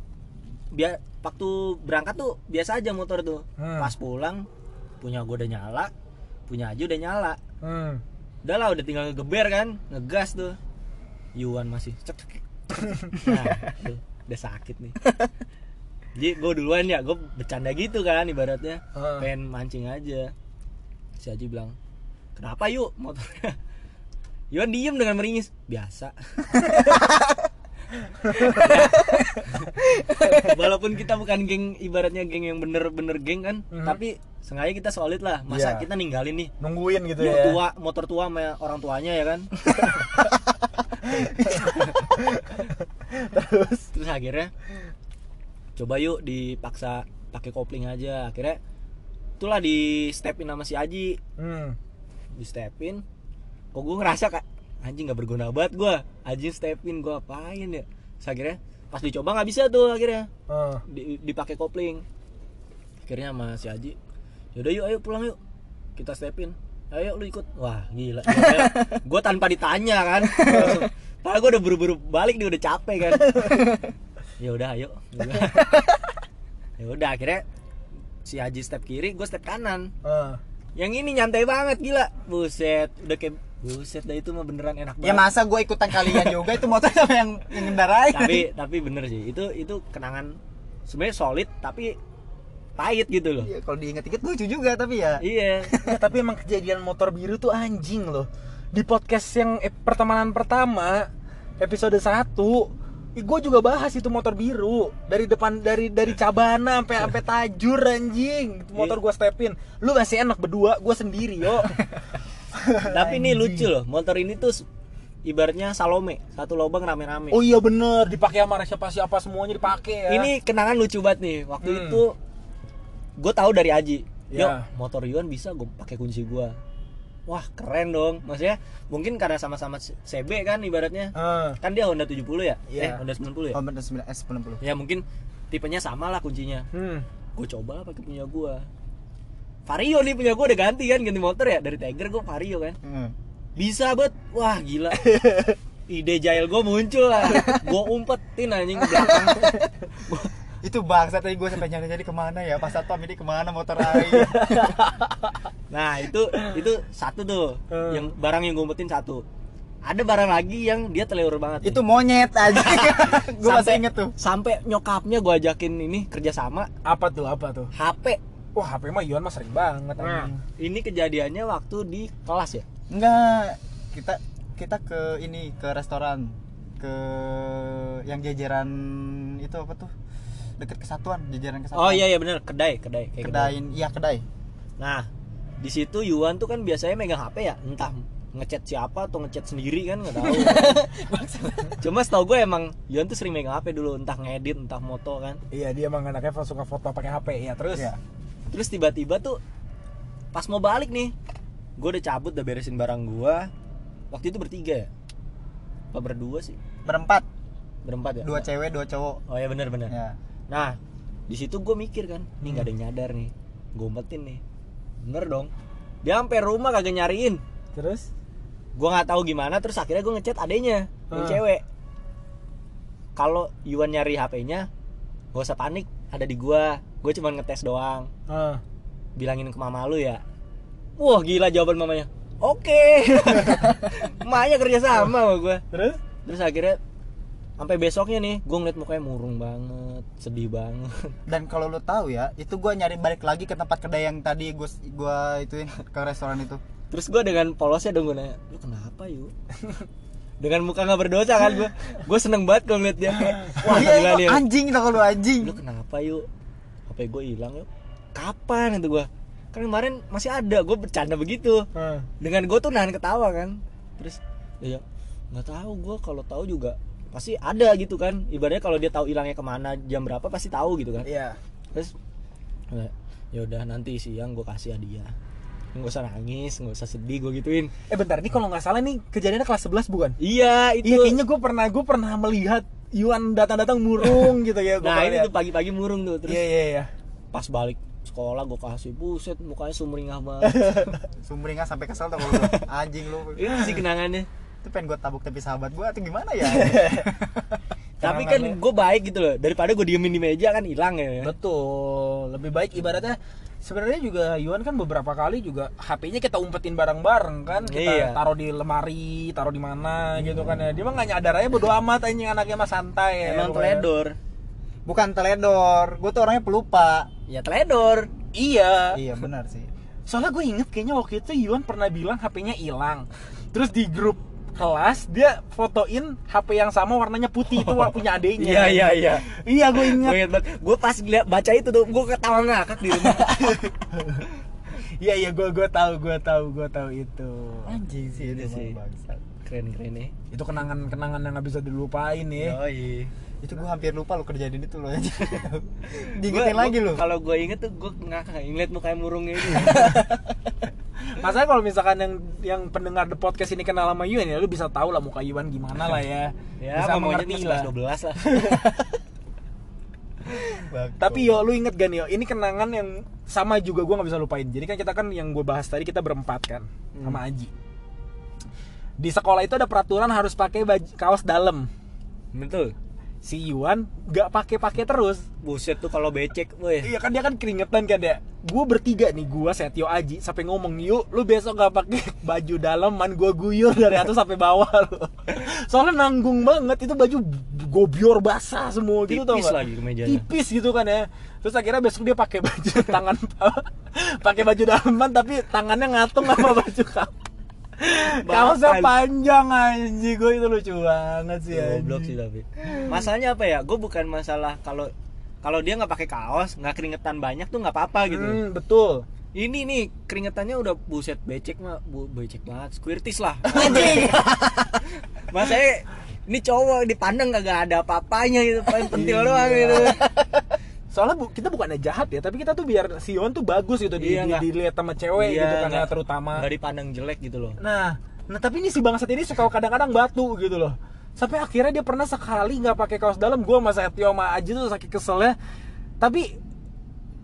S3: bia- waktu berangkat tuh biasa aja motor tuh.
S2: Hmm.
S3: Pas pulang punya gua udah nyala, punya aja udah nyala.
S2: Hmm.
S3: Udah lah udah tinggal ngegeber kan, ngegas tuh. Iwan masih cek cek. Nah, tuh, udah sakit nih. Jadi gue duluan ya, gue bercanda gitu kan ibaratnya.
S2: Ah.
S3: pengen mancing aja si Haji bilang kenapa yuk motornya Iwan diem dengan meringis biasa walaupun kita bukan geng ibaratnya geng yang bener-bener geng kan
S2: Mhm.
S3: tapi sengaja kita solid lah masa
S2: Iya.
S3: kita ninggalin nih
S2: Nungguin gitu
S3: Yuk,
S2: ya.
S3: tua motor tua sama orang tuanya ya kan terus terus akhirnya coba yuk dipaksa pakai kopling aja akhirnya itulah di stepin sama si Aji
S2: Hmm.
S3: di stepin kok gue ngerasa kak anjing nggak berguna banget gue Aji stepin gue apain ya terus akhirnya pas dicoba nggak bisa tuh akhirnya
S2: Ah.
S3: di, dipakai kopling akhirnya sama si Haji yaudah yuk ayo pulang yuk kita stepin ayo lu ikut wah gila gue tanpa ditanya kan Langsung. padahal gue udah buru-buru balik nih udah capek kan ya udah ayo ya udah akhirnya si Haji step kiri gue step kanan
S2: Ah.
S3: yang ini nyantai banget gila buset udah kayak buset dah itu mah beneran enak
S1: Ya
S3: banget
S1: masa gue ikutan kalian juga itu motor sama yang yang ngendarain.
S3: tapi tapi bener sih itu itu kenangan sebenarnya solid tapi pahit gitu loh
S1: Iya, kalau diinget-inget lucu juga tapi ya.
S3: Iya.
S2: Nggak, tapi emang kejadian motor biru tuh anjing loh. Di podcast yang eh, pertemanan pertama episode 1 gue juga bahas itu motor biru dari depan dari dari cabana sampai sampai tajur anjing Itu motor gue stepin lu masih enak berdua gue sendiri yo
S3: Tapi ini lucu loh. Motor ini tuh s- ibaratnya Salome, satu lobang rame-rame.
S2: oh iya bener dipakai sama siapa siapa semuanya dipakai ya
S3: Ini kenangan lucu banget nih. Waktu
S2: Hmm.
S3: itu gue tahu dari Aji. Yo,
S2: Ya.
S3: motor Yuan bisa gue pakai kunci gua. Wah, keren dong. Maksudnya mungkin karena sama-sama C- CB kan ibaratnya.
S2: Eh,
S3: Kan dia Honda 70 ya?
S1: Iya.
S3: Eh, Honda 90 ya?
S1: Oh, bener 9 S 90.
S3: Ya mungkin tipenya sama lah kuncinya.
S2: hmm.
S3: Gue coba lah pakai punya gua. Vario nih punya gua udah ganti kan, ganti motor ya dari Tiger gue Vario kan.
S1: Hmm.
S3: bisa bet wah gila ide jahil gue muncul lah gue umpetin anjing ke belakang Gua-
S1: itu bangsa tadi gue sampai nyari jadi kemana ya pas satpam ini kemana motor air
S3: Nah itu itu satu tuh
S2: Hmm.
S3: yang barang yang gue umpetin satu. Ada barang lagi yang dia teleur banget.
S1: itu monyet aja gue masih
S3: Sampai-
S1: inget tuh
S3: Sampai nyokapnya gue ajakin ini kerjasama
S2: Apa tuh? Apa tuh?
S3: HP.
S2: Wah, HP mah Ion mah sering banget
S3: Nah,
S2: anjing.
S3: ini kejadiannya waktu di kelas ya.
S1: enggak kita kita ke ini ke restoran ke yang jajaran itu apa tuh deket kesatuan jajaran kesatuan
S3: Oh iya iya bener kedai kedai kayak
S1: kedai iya kedai
S3: Nah, di situ Yuan tuh kan biasanya megang HP ya, entah ngechat siapa atau ngechat sendiri kan nggak tahu. Cuma setahu gue emang Yuan tuh sering megang HP dulu, entah ngedit, entah moto kan.
S2: Iya, dia emang anaknya suka foto pakai HP. Iya, terus.
S1: Iya.
S3: Terus tiba-tiba tuh pas mau balik nih, gue udah cabut, udah beresin barang gue. Waktu itu bertiga ya? Apa berdua sih?
S1: berempat
S3: Berempat ya?
S1: dua cewek dua cowok
S3: Oh ya benar-benar.
S1: ya
S3: Nah, di situ gue mikir kan, nih nggak ada yang nyadar nih, gue umpetin nih, bener dong. Dia sampai rumah kagak nyariin,
S2: Terus?
S3: gue nggak tahu gimana terus akhirnya gue ngechat adenya yang
S2: Ah.
S3: cewek kalau Yuan nyari HP-nya gak usah panik ada di gua gue cuman ngetes doang
S2: Ah.
S3: bilangin ke mama lu ya wah gila jawaban mamanya oke mamanya kerja sama sama gue
S2: Terus?
S3: terus akhirnya sampai besoknya nih gue ngeliat mukanya murung banget sedih banget
S1: dan kalau lo tahu ya itu gue nyari balik lagi ke tempat kedai yang tadi gue gua ituin ke restoran itu
S3: terus gue dengan polosnya dong gue nanya lu kenapa yuk dengan muka nggak berdosa kan gue gue seneng banget kalau ngeliat dia kayak wah
S1: Iya,
S3: gila
S1: itu
S3: nih
S1: anjing tau lu anjing
S3: lu kan- kenapa yuk HP gue hilang yuk kapan itu gue kan kemarin masih ada gue bercanda begitu
S2: Ah.
S3: dengan gue tuh nahan ketawa kan terus dia bilang, nggak tahu gue kalau tahu juga pasti ada gitu kan ibaratnya kalau dia tahu hilangnya kemana jam berapa pasti tahu gitu kan
S2: Iya.
S3: terus ya udah nanti siang gue kasih hadiah nggak usah nangis nggak usah sedih gue gituin
S2: Eh bentar, ini kalau nggak salah nih kejadiannya kelas 11 bukan?
S3: iya
S2: Iya,
S3: itu
S2: kayaknya gue pernah gue pernah melihat Yuan datang-datang murung gitu ya. gua
S3: nah
S2: pernah
S3: ini
S2: lihat.
S3: tuh pagi-pagi murung tuh terus
S2: Iya iya iya.
S3: pas balik sekolah gue kasih buset mukanya sumringah banget
S1: sumringah sampai kesel tau kalau lu anjing lu
S3: itu sih kenangannya
S1: itu pengen gue tabuk tapi sahabat gue atau gimana ya
S3: Tapi kan gue baik gitu loh daripada gue diemin di meja kan hilang ya.
S2: Betul. Lebih baik ibaratnya sebenarnya juga Yuan kan beberapa kali juga HP-nya kita umpetin bareng-bareng kan, kita
S3: Iya.
S2: taruh di lemari, taruh di mana gitu kan ya. Dia mah nggak nyadar aja bodo amat anjing anaknya mah santai ya.
S3: Emang
S2: pokoknya.
S3: teledor.
S1: bukan teledor gue tuh orangnya pelupa
S3: Ya teledor.
S2: Iya.
S1: iya benar sih
S2: Soalnya gue inget kayaknya waktu itu Yuan pernah bilang HP-nya hilang. Terus di grup kelas dia fotoin HP yang sama warnanya putih itu punya adeknya.
S3: Iya iya iya.
S2: Iya gue inget.
S3: Gue ingat banget. Gue pas liat baca itu tuh gue ketawa ngakak di rumah.
S2: Iya iya gue gue tahu gue tahu gue tahu itu.
S1: anjing sih itu
S3: Itu sih.
S1: sih Iya, bangsat
S3: Keren keren ya. nih.
S2: Itu kenangan-kenangan yang nggak bisa dilupain ya.
S3: Yoi.
S1: itu gue hampir lupa lu kerjain itu lo anjing
S3: Gua-
S1: diingetin lagi
S3: gua-
S1: lu
S3: Kalau gue inget tuh gue ngakak ngeliat mukanya murungnya itu.
S2: Masalahnya kalau misalkan yang yang pendengar the podcast ini kenal sama Yuan ya lu bisa tahu lah muka Yuan gimana lah ya.
S3: ya
S2: bisa
S3: sama
S2: mengerti
S3: monyet
S2: lah.
S3: dua belas lah.
S2: Tapi yo lu inget gak nih yo, ini kenangan yang sama juga gue nggak bisa lupain. Jadi kan kita kan yang gue bahas tadi kita berempat kan sama Aji. Di sekolah itu ada peraturan harus pakai baj- kaos dalam.
S3: Betul.
S2: Si Yuan nggak pakai-pakai terus.
S3: Buset tuh kalau becek, weh.
S2: Iya kan dia kan keringetan kan ya. Gue bertiga nih, gue Setio Aji sampai ngomong yuk, lu besok gak pakai baju daleman gue guyur dari atas sampai bawah lu. Soalnya nanggung banget itu baju gobior basah semua gitu tau
S3: Tipis
S2: nggak?
S3: lagi ke mejanya.
S2: Tipis gitu kan ya. Terus akhirnya besok dia pakai baju tangan pakai baju daleman tapi tangannya ngatung sama baju kamu. Kaosnya
S3: Bahkan.
S2: panjang anjing gue itu lucu banget sih Iya,
S3: Goblok
S2: anjing.
S3: sih tapi. Masalahnya apa ya? Gue bukan masalah kalau kalau dia nggak pakai kaos, nggak keringetan banyak tuh nggak apa-apa gitu.
S2: Hmm, betul.
S3: Ini nih keringetannya udah buset becek mah, bu, becek banget, squirtis lah. Mas saya ini cowok dipandang kagak ada apa-apanya gitu, paling pentil doang gitu.
S2: soalnya bu- kita bukannya jahat ya tapi kita tuh biar Sion tuh bagus gitu di, di-
S3: Iya, nggak?
S2: dilihat sama cewek
S3: Iya,
S2: gitu kan ya
S3: nggak-
S2: terutama
S3: Nggak dipandang jelek gitu loh.
S2: nah nah tapi ini si bangsat ini suka kadang-kadang batu gitu loh sampai akhirnya dia pernah sekali nggak pakai kaos dalam gue sama Setio sama Aji tuh sakit keselnya tapi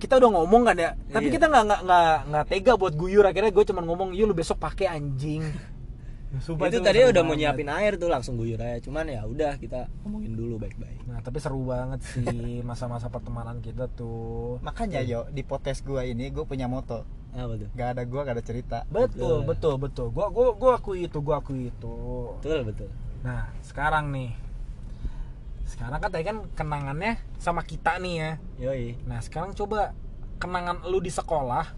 S2: kita udah ngomong kan ya tapi
S3: Iya.
S2: "Iya, kita nggak nggak nggak nggak tega buat guyur akhirnya gue cuman ngomong yuk lu besok pakai anjing Ya,
S1: Sumpah
S3: itu
S1: tuh
S3: tadi
S1: seru
S3: udah mau
S1: banget.
S3: nyiapin air tuh langsung guyur aja. Cuman ya udah kita ngomongin dulu baik-baik.
S2: Nah, tapi seru banget sih masa-masa pertemanan kita tuh.
S1: Makanya yo di podcast gua ini gua punya moto.
S3: Apa tuh?
S1: Gak ada gua gak ada cerita.
S2: Betul,
S3: Gitu.
S2: betul, betul. Gua gua gua akui itu, gua akui itu.
S3: Betul betul.
S2: Nah, sekarang nih. Sekarang kan tadi kan kenangannya sama kita nih ya.
S3: Yoi.
S2: Nah, sekarang coba kenangan lu di sekolah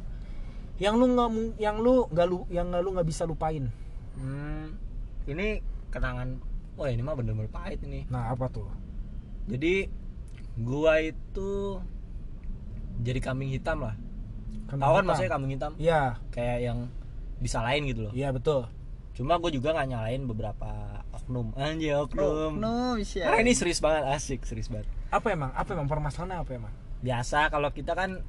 S2: yang lu nggak mu- yang lu nggak lu yang nggak lu nggak bisa lupain.
S3: Hmm, ini kenangan. Wah ini mah bener-bener pahit ini.
S2: Nah, apa tuh?
S3: Jadi gua itu jadi kambing hitam lah. Tahu kan maksudnya kambing hitam?
S2: Iya,
S3: Kayak yang disalahin gitu loh.
S2: iya betul.
S3: Cuma gue juga nggak nyalain beberapa oknum. Anjir oknum.
S1: Oh, No, sih.
S3: Karena ini serius banget asik serius banget.
S2: Apa emang? Apa emang permasalahannya apa emang?
S3: Biasa kalau kita kan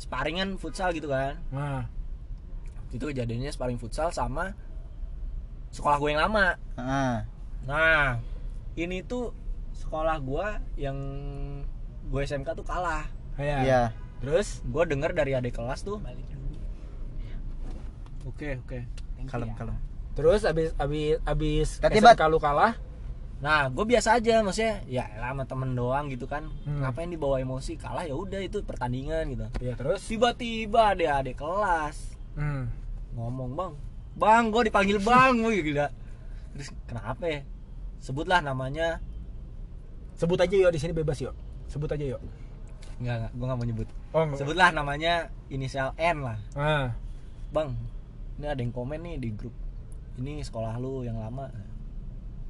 S3: sparingan futsal gitu kan.
S2: Nah,
S3: Itu kejadiannya sparing futsal sama sekolah gue yang lama.
S1: Heeh.
S3: Nah, ini tuh sekolah gua yang gue SMK tuh kalah.
S2: ya.
S1: Iya.
S3: Terus gua denger dari adik kelas tuh. Oke, oke. Thank you
S1: Kalem
S3: ya.
S1: kalem.
S2: Terus abis abis abis
S1: Tapi,
S2: SMK lu kalah,
S3: Nah, gue biasa aja maksudnya. Ya, elah sama temen doang gitu kan.
S2: Hmm.
S3: Ngapain dibawa emosi? Kalah ya udah itu pertandingan gitu.
S2: ya terus.
S3: Tiba-tiba ada adik kelas
S2: Hmm.
S3: ngomong, "Bang, Bang, gue dipanggil Bang." Wih, gila. Terus kenapa ya? Sebutlah namanya.
S2: Sebut aja yuk di sini bebas yuk. Sebut aja yuk.
S3: Enggak, enggak, gue gak mau nyebut.
S2: Oh,
S3: Sebutlah namanya inisial N lah.
S2: Nah,
S3: bang ini ada yang komen nih di grup ini sekolah lu yang lama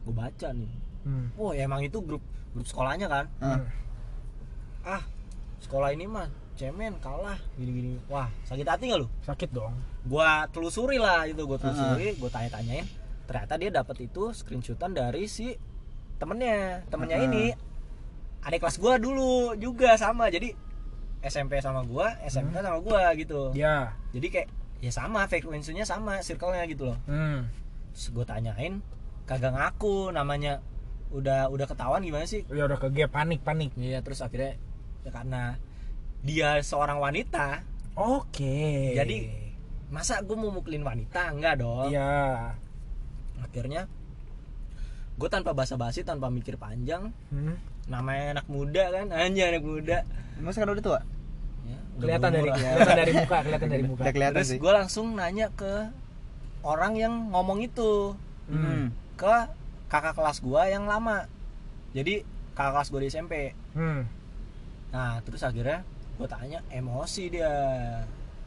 S3: gue baca nih
S2: hmm.
S3: oh ya emang itu grup grup sekolahnya kan
S1: Heeh.
S3: ah sekolah ini mah cemen kalah gini gini wah sakit hati nggak lu
S2: sakit dong.
S3: gua telusuri lah itu gua telusuri gua tanya tanyain ternyata dia dapat itu screenshotan dari si temennya temennya
S1: Ah.
S3: ini adik kelas gua dulu juga sama jadi SMP sama gua SMK sama gua gitu
S2: Ya.
S3: jadi kayak ya sama frekuensinya sama circle-nya gitu loh
S2: Hmm.
S3: terus gue tanyain kagak ngaku namanya udah udah ketahuan gimana sih
S2: Ya udah kege panik panik.
S3: iya terus akhirnya ya karena dia seorang wanita
S2: Oke.
S3: Jadi- masa gue mau mukulin wanita enggak
S1: oh.
S3: dong
S2: Iya.
S3: akhirnya gue tanpa basa-basi tanpa mikir panjang
S2: Hmm.
S3: namanya anak muda kan hanya anak muda
S1: Mas kan udah tua?
S3: Ya, udah
S2: Kelihatan dari
S3: berumur lah.
S2: kelihatan dari muka, kelihatan dari muka.
S1: Udah kelihatan
S3: terus
S1: sih.
S3: gue langsung nanya ke orang yang ngomong itu
S2: Hmm.
S1: Hmm.
S3: ke kakak kelas gua yang lama jadi kakak kelas gue di SMP
S2: Hmm.
S3: Nah terus akhirnya gue tanya emosi dia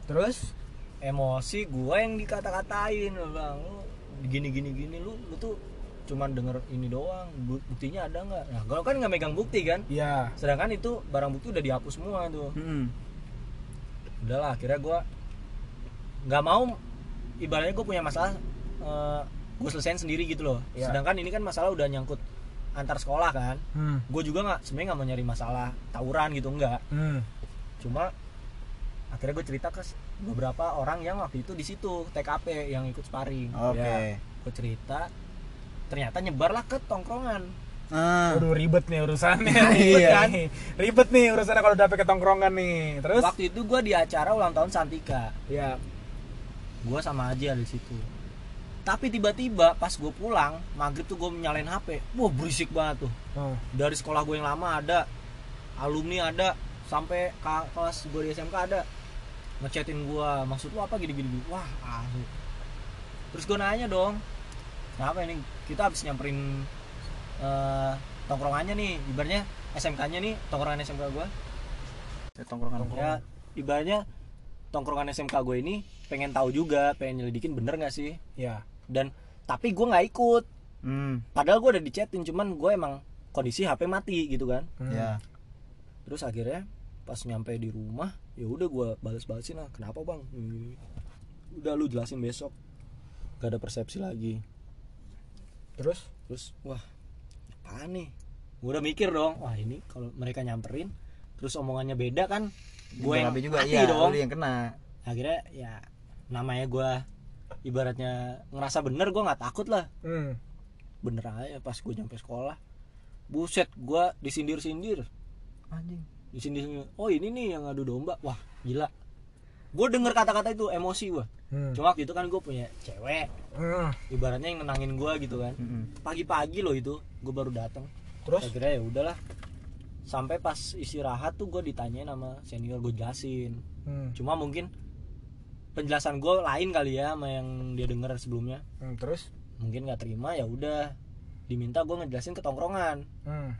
S2: Terus
S3: Emosi gue yang dikata-katain "Lu bang Lu gini gini gini lu, lu tuh cuman denger ini doang bu- buktinya ada nggak nah gue kan nggak megang bukti kan
S2: ya.
S3: sedangkan itu barang bukti udah dihapus semua tuh
S1: Hmm.
S3: udahlah akhirnya gue nggak mau ibaratnya gue punya masalah gue selesain sendiri gitu loh
S2: Iya.
S3: sedangkan ini kan masalah udah nyangkut antar sekolah kan
S2: Hmm.
S3: gue juga nggak sebenarnya nggak mau nyari masalah tawuran gitu enggak
S2: Hmm.
S3: cuma akhirnya gue cerita ke beberapa orang yang waktu itu di situ TKP yang ikut sparring
S1: Oke.
S3: gue cerita ternyata nyebarlah ke tongkrongan
S1: Ah.
S2: Aduh ribet nih urusannya.
S1: Iya.
S2: ribet kan? Ribet nih urusannya kalau udah pakai tongkrongan nih. Terus
S3: waktu itu gue di acara ulang tahun Santika
S2: ya.
S3: gue sama aja di situ tapi tiba-tiba pas gue pulang maghrib tuh gue nyalain HP wah berisik banget tuh
S2: Oh.
S3: dari sekolah gue yang lama ada alumni ada sampai ka- kelas gue di SMK ada ngechatin gue maksud lu apa gini-gini wah asu. terus gue nanya dong kenapa ini kita habis nyamperin eh, tongkrongannya nih ibarnya SMK-nya nih tongkrongan SMK gue
S1: Ya, Tongkrongan.
S2: Oh.
S3: ya ibarnya tongkrongan SMK gue ini pengen tahu juga pengen nyelidikin bener nggak sih
S2: Ya.
S3: dan tapi gue nggak ikut
S1: Hmm.
S3: padahal gue udah dichatin cuman gue emang kondisi HP mati gitu kan
S2: Hmm.
S1: Ya.
S3: terus akhirnya pas nyampe di rumah ya udah gue balas-balasin lah kenapa bang Gini, gini. udah lu jelasin besok gak ada persepsi lagi
S2: Terus
S3: terus wah apaan nih gue udah mikir dong wah ini kalau mereka nyamperin terus omongannya beda kan gue yang
S1: Tapi juga
S3: mati
S1: iya,
S3: dong
S1: lu yang kena.
S3: akhirnya ya namanya gue ibaratnya ngerasa bener gue nggak takut lah
S2: hmm.
S3: bener aja pas gue nyampe sekolah buset gue disindir-sindir
S1: Anjing.
S3: di sini oh ini nih yang adu domba wah gila gue denger kata-kata itu emosi gue
S2: Hmm.
S3: cuma waktu itu kan gue punya cewek
S2: Hmm.
S3: ibaratnya yang nenangin gue gitu kan
S1: Mm-mm.
S3: pagi-pagi loh itu gue baru datang
S2: Terus?
S3: akhirnya ya udahlah sampai pas istirahat tuh gue ditanyain sama senior gue jelasin
S2: Hmm.
S3: cuma mungkin penjelasan gue lain kali ya sama yang dia denger sebelumnya
S2: Hmm, Terus?
S3: mungkin nggak terima ya udah diminta gue ngejelasin ke tongkrongan
S2: Hmm.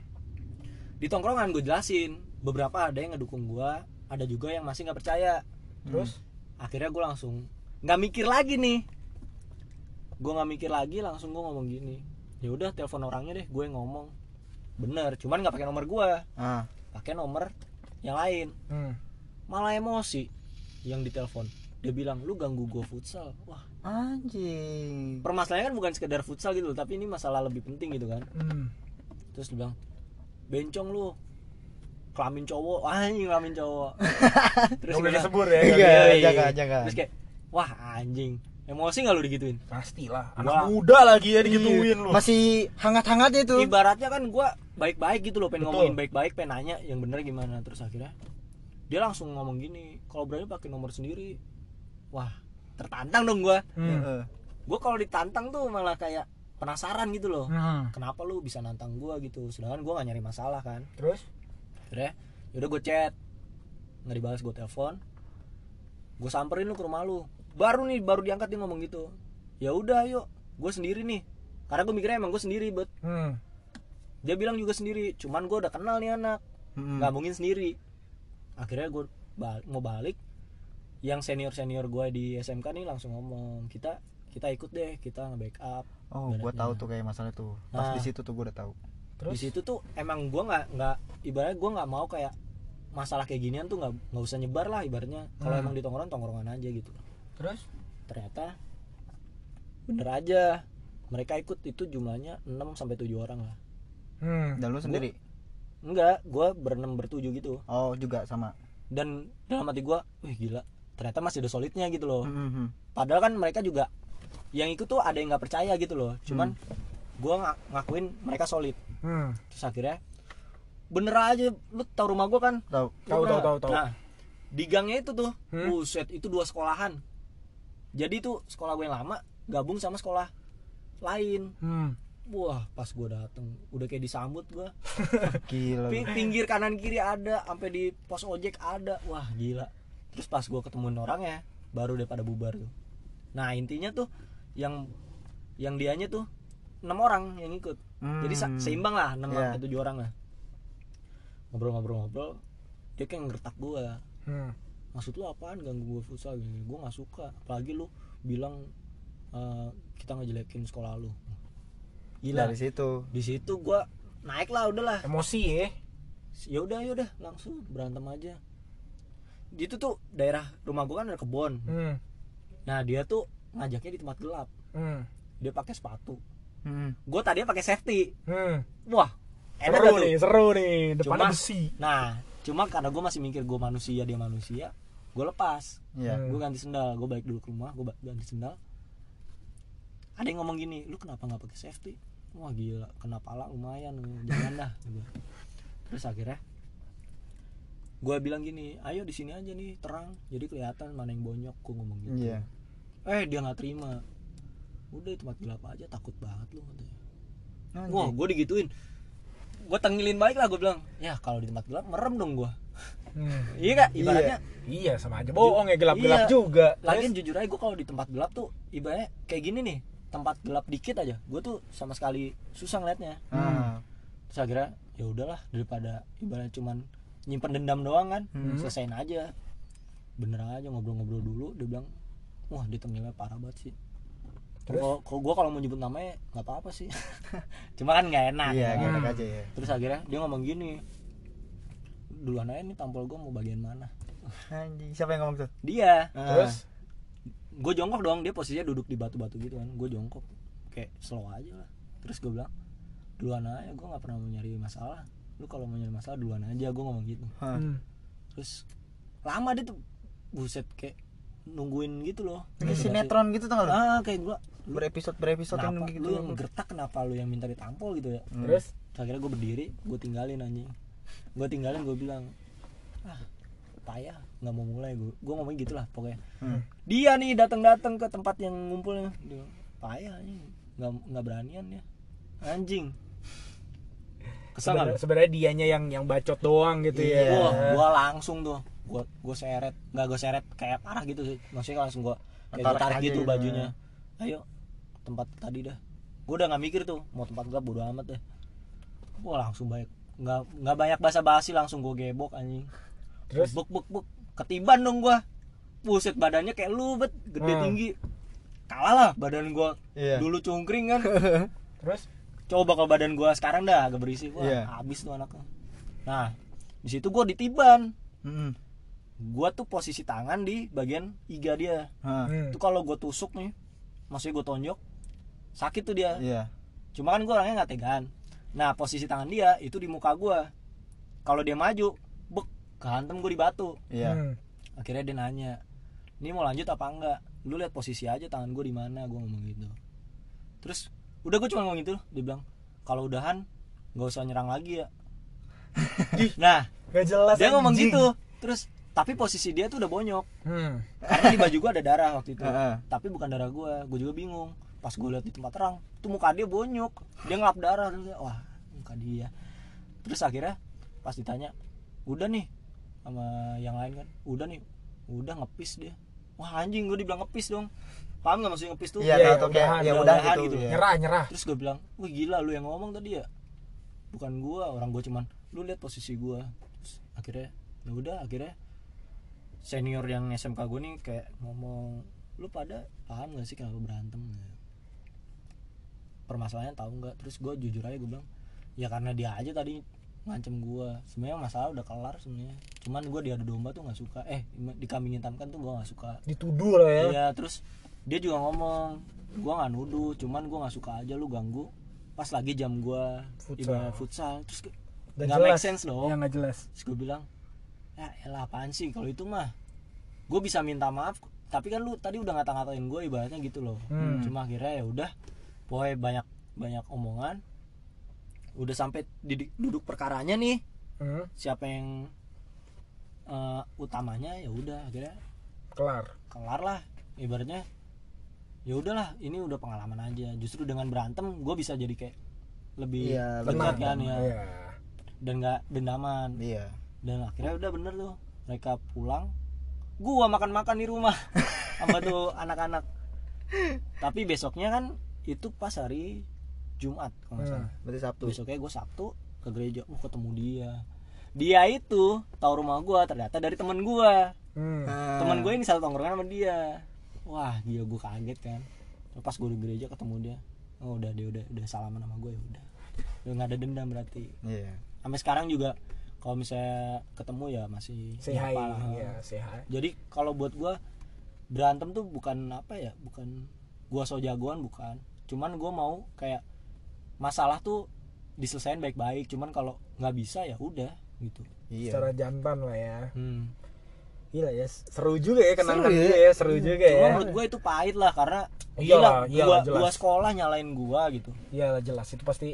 S3: di tongkrongan gue jelasin beberapa ada yang ngedukung gue ada juga yang masih nggak percaya
S2: Terus?
S3: akhirnya gue langsung nggak mikir lagi nih gue nggak mikir lagi langsung gue ngomong gini ya udah telepon orangnya deh gue yang ngomong bener cuman nggak pakai nomor gue
S1: ah
S3: pakai nomor yang lain
S2: Hmm.
S3: malah emosi yang ditelepon dia bilang lu ganggu gue futsal wah
S1: anjing
S3: permasalahannya kan bukan sekedar futsal gitu loh, tapi ini masalah lebih penting gitu kan
S2: Hmm.
S3: terus dia bilang bencong lu kelamin cowok anjing kelamin cowok terus
S2: Nggak boleh
S3: gimana?
S2: disebut ya,
S3: Iya,
S1: kan?
S3: iya, iya.
S1: Jangan, jangan.
S3: terus kayak wah anjing emosi nggak lu digituin
S2: Pastilah.
S3: Gua-
S2: Anak muda lagi ya digituin
S1: Iya,
S2: lu.
S1: masih hangat-hangatnya itu
S3: ibaratnya kan gua baik-baik gitu loh pengen
S2: Betul.
S3: ngomongin baik-baik pengen nanya yang bener gimana terus akhirnya dia langsung ngomong gini kalau berani pakai nomor sendiri wah tertantang dong gua
S2: Hmm.
S3: Ya.
S1: Heeh.
S3: gua kalau ditantang tuh malah kayak penasaran gitu loh
S2: Hmm.
S3: kenapa lu bisa nantang gua gitu sedangkan gua nggak nyari masalah kan
S2: Terus?
S3: Akhirnya yaudah gue chat nggak dibalas gue telepon gue samperin lu ke rumah lu baru nih baru diangkat dia ngomong gitu ya udah yuk gue sendiri nih karena gue mikirnya emang gue sendiri bet
S2: Hmm.
S3: dia bilang juga sendiri cuman gue udah kenal nih anak
S2: Hmm.
S1: Mm-mm.
S3: nggak mungkin sendiri akhirnya gue mau balik yang senior senior gue di SMK nih langsung ngomong kita kita ikut deh kita nge-backup
S1: oh gue
S3: Ibaratnya.
S1: tahu tuh kayak masalah tuh pas
S3: Ah.
S1: di situ tuh gue udah tahu
S2: Terus?
S3: di situ tuh emang gua nggak nggak ibaratnya gua nggak mau kayak masalah kayak ginian tuh nggak nggak usah nyebar lah ibaratnya kalau
S2: Hmm.
S3: emang di tongkrongan tongkrongan aja gitu
S2: Terus?
S3: ternyata bener
S2: Hmm.
S3: aja mereka ikut itu jumlahnya 6 sampai 7 orang lah
S2: Hmm.
S1: dan lu sendiri
S3: enggak gua berenam bertujuh gitu
S1: oh juga sama
S3: dan
S2: Nah.
S3: dalam hati gua wih gila ternyata masih ada solidnya gitu loh
S1: Mm-mm.
S3: padahal kan mereka juga yang ikut tuh ada yang nggak percaya gitu loh cuman gua ngak- ngakuin mereka solid
S2: Hmm.
S3: terus akhirnya bener aja lu tau rumah gua kan
S1: tahu
S2: Tahu tahu tahu tahu.
S3: Nah, di gangnya itu tuh,
S2: Hmm?
S3: buset itu dua sekolahan. Jadi itu sekolah gue yang lama gabung sama sekolah lain.
S2: Hmm.
S3: Wah, pas gue dateng udah kayak disambut gue.
S1: gila lu.
S3: Pi- pinggir kanan kiri ada, sampai di pos ojek ada. Wah, gila. Terus pas gue ketemuin orangnya, baru deh pada bubar tuh. Nah, intinya tuh yang yang dianya tuh enam orang yang ikut. Jadi sa-
S1: Hmm.
S3: seimbang lah enam
S1: Iya.
S3: sampai tujuh orang lah. Ngobrol-ngobrol-ngobrol, dia kayak ngertak gue
S2: Hmm.
S3: maksud lu apaan ganggu gue futsal gini gue nggak suka apalagi lu bilang eh, kita ngejelekin sekolah lu gila
S1: dari situ
S3: di situ gue naik lah udahlah
S2: Emosi ya.
S3: ya udah ya udah langsung berantem aja di itu tuh daerah rumah gue kan ada kebon
S2: Hmm.
S3: nah dia tuh ngajaknya di tempat gelap
S2: Hmm.
S3: dia pakai sepatu
S1: Mm-mm.
S3: gue tadinya pakai safety
S2: Hmm.
S3: wah enak
S2: Seru
S3: dah tuh
S2: nih, seru nih. Depannya
S3: Cuma-
S2: besi.
S3: nah cuma karena gue masih mikir gue manusia dia manusia gue lepas
S1: Iya.
S2: Hmm.
S3: gue ganti sendal gue balik dulu ke rumah gue ganti sendal ada yang ngomong gini lu kenapa nggak pakai safety wah gila kena pala lumayan lu. jangan dah Gua. terus akhirnya gue bilang gini ayo di sini aja nih terang jadi kelihatan mana yang bonyok gue ngomong gitu
S1: Iya.
S3: eh dia nggak terima udah di tempat gelap aja takut banget lu katanya
S1: Anjing.
S3: wah gue digituin gue tengilin balik lah gue bilang ya kalau di tempat gelap merem dong gue
S2: Hmm.
S3: iya kak ibaratnya
S2: Iya, sama aja bohong ya gelap-gelap
S3: Iya.
S2: juga.
S3: Lagian jujur aja gue kalau di tempat gelap tuh ibaratnya kayak gini nih tempat gelap dikit aja gue tuh sama sekali susah ngeliatnya
S1: Ah.
S3: terus akhirnya ya udahlah daripada ibaratnya cuman nyimpen dendam doang kan
S1: Hmm.
S3: selesain aja bener aja ngobrol-ngobrol dulu dia bilang wah dia tenggelamnya parah banget sih
S2: Terus?
S3: kalau gue kalau mau nyebut namanya nggak apa-apa sih cuma kan nggak enak
S1: iya
S3: ya kan?
S1: gak enak
S2: Hmm.
S1: aja ya
S3: terus akhirnya dia ngomong gini duluan aja nih tampol gue mau bagian mana
S1: anjing siapa yang ngomong tuh
S3: dia
S1: Ah.
S2: Terus
S3: gue jongkok dong dia posisinya duduk di batu-batu gitu kan gue jongkok kayak slow aja lah terus gue bilang duluan aja gue nggak pernah mau nyari masalah lu kalau mau nyari masalah duluan aja gue ngomong gitu
S1: Ah.
S2: Hmm.
S3: terus lama dia tuh buset kayak nungguin gitu loh
S1: ini sinetron gitu tau gak lu
S3: ah kayak gue
S1: berepisode berepisode yang
S3: kenapa
S1: gitu
S3: lu yang gertak kenapa lu yang minta ditampol gitu ya
S1: Hmm.
S2: Terus
S3: terus akhirnya gue berdiri gue tinggalin anjing gue tinggalin gue bilang ah payah nggak mau mulai gue gue ngomong gitulah pokoknya
S1: Hmm.
S3: dia nih datang-datang ke tempat yang ngumpulnya dia, payah nih nggak nggak beranian ya anjing kesel
S2: Sebenarnya-
S3: nggak lu?
S2: sebenarnya dianya yang yang bacot doang gitu ya
S3: Wah, gua langsung tuh gua gua seret nggak gua seret kayak parah gitu sih maksudnya langsung gua kayak gua
S1: Tarik
S3: tarik
S1: aja
S3: gitu
S1: gitu.
S3: bajunya ayo tempat tadi dah gua udah nggak mikir tuh mau tempat gelap bodo amat deh gua langsung banyak nggak nggak banyak basa basi langsung gua gebok anjing
S2: Terus?
S3: buk buk buk ketiban dong gua buset badannya kayak lubet gede
S2: Hmm.
S3: tinggi kalah lah badan gua
S1: Iya.
S3: dulu cungkring kan
S2: terus
S3: coba kalau badan gua sekarang dah agak berisi wah
S1: Iya.
S3: habis tuh anaknya nah di situ gua ditiban
S1: Mm-mm.
S3: gua tuh posisi tangan di bagian iga dia
S1: Hah.
S2: Hmm.
S3: Ah, itu kalau gua tusuk nih maksudnya gua tonjok sakit tuh dia
S1: Iya.
S3: cuma kan gua orangnya nggak tegaan nah posisi tangan dia itu di muka gua kalau dia maju bek kehantem gua di batu
S1: Iya.
S2: Hmm.
S3: akhirnya dia nanya ini mau lanjut apa enggak lu lihat posisi aja tangan gue di mana gue ngomong gitu terus udah gue cuma ngomong gitu dia bilang kalau udahan nggak usah nyerang lagi ya Ih, nah
S2: Gak jelas
S3: dia ngomong
S2: anjing.
S3: gitu terus tapi posisi dia tuh udah bonyok
S2: Hmm.
S3: karena di baju gue ada darah waktu itu
S1: Heeh.
S3: tapi bukan darah gue gue juga bingung pas gue lihat di tempat terang tuh muka dia bonyok dia ngelap darah terus dia, wah muka dia terus akhirnya pas ditanya udah nih sama yang lain kan udah nih udah ngepis dia wah anjing gue dibilang ngepis dong paham nggak maksudnya ngepis tuh
S1: Iya,
S2: Iya,
S1: tahu
S2: ya,
S1: tuh kayak
S2: udahan,
S1: ya
S3: udah
S1: udah
S3: udahan
S1: gitu.
S3: gitu.
S1: Iya.
S2: nyerah nyerah
S3: terus gue bilang wah gila lu yang ngomong tadi ya bukan gua orang gua cuman lu lihat posisi gua Terus akhirnya ya udah akhirnya senior yang SMK gua nih kayak ngomong lu pada paham gak sih kenapa berantem permasalahannya tahu nggak terus gua jujur aja gua bilang ya karena dia aja tadi ngancem gua sebenarnya masalah udah kelar sebenarnya cuman gua diadu domba tuh nggak suka eh dikambing hitamkan tuh gua nggak suka
S2: dituduh lah ya
S3: Iya, terus dia juga ngomong, gua nggak nuduh, cuman gua nggak suka aja lu ganggu pas lagi jam gua
S2: Futsal.
S3: ibarat futsal. Terus ke-
S2: Gak
S3: nggak
S2: jelas.
S3: make sense
S2: ya
S3: dong.
S2: nggak jelas
S3: Terus gua bilang, ya elah apaan sih kalau itu mah. Gua bisa minta maaf, tapi kan lu tadi udah ngata-ngatain gua ibaratnya gitu loh.
S2: Hmm.
S3: Cuma akhirnya ya udah, boy banyak banyak omongan. Udah sampai di- duduk perkaranya nih
S2: Hmm.
S3: siapa yang eh, utamanya ya udah akhirnya
S2: kelar
S3: kelar lah ibaratnya ya udahlah ini udah pengalaman aja justru dengan berantem gue bisa jadi kayak lebih
S1: Iya,
S3: dekat
S2: Tenang.
S3: kan ya
S2: Iya.
S3: dan nggak dendaman
S1: Iya.
S3: dan akhirnya udah bener tuh mereka pulang gua makan makan di rumah sama tuh anak-anak tapi besoknya kan itu pas hari Jumat kalau nggak
S2: Hmm.
S3: salah
S1: Berarti Sabtu.
S3: besoknya gue Sabtu ke gereja oh ketemu dia dia itu tahu rumah gua ternyata dari temen gua
S2: Hmm.
S1: Ah.
S3: teman gue ini satu tongkrongan sama dia wah gila gue kaget kan pas gue di gereja ketemu dia oh udah dia udah udah salaman sama gue ya udah udah nggak ada dendam berarti
S1: Iya.
S3: sampai sekarang juga kalau misalnya ketemu ya masih
S2: Say hi.
S3: nyapa lah.
S2: Iya, say hi.
S3: jadi kalau buat gue berantem tuh bukan apa ya bukan gue so jagoan bukan cuman gue mau kayak masalah tuh diselesaikan baik-baik cuman kalau nggak bisa ya udah gitu
S1: Iya.
S2: secara jantan lah ya
S3: hmm.
S2: gila ya seru juga ya kenangan
S1: Seru ya.
S2: dia ya seru juga
S3: Iya, Cuma
S2: ya Iya
S3: menurut gue itu pahit lah karena
S2: Iyalah,
S3: gila,
S2: iyalah,
S3: gua,
S2: jelas.
S3: gua sekolah nyalain gua gitu.
S2: Iya jelas itu pasti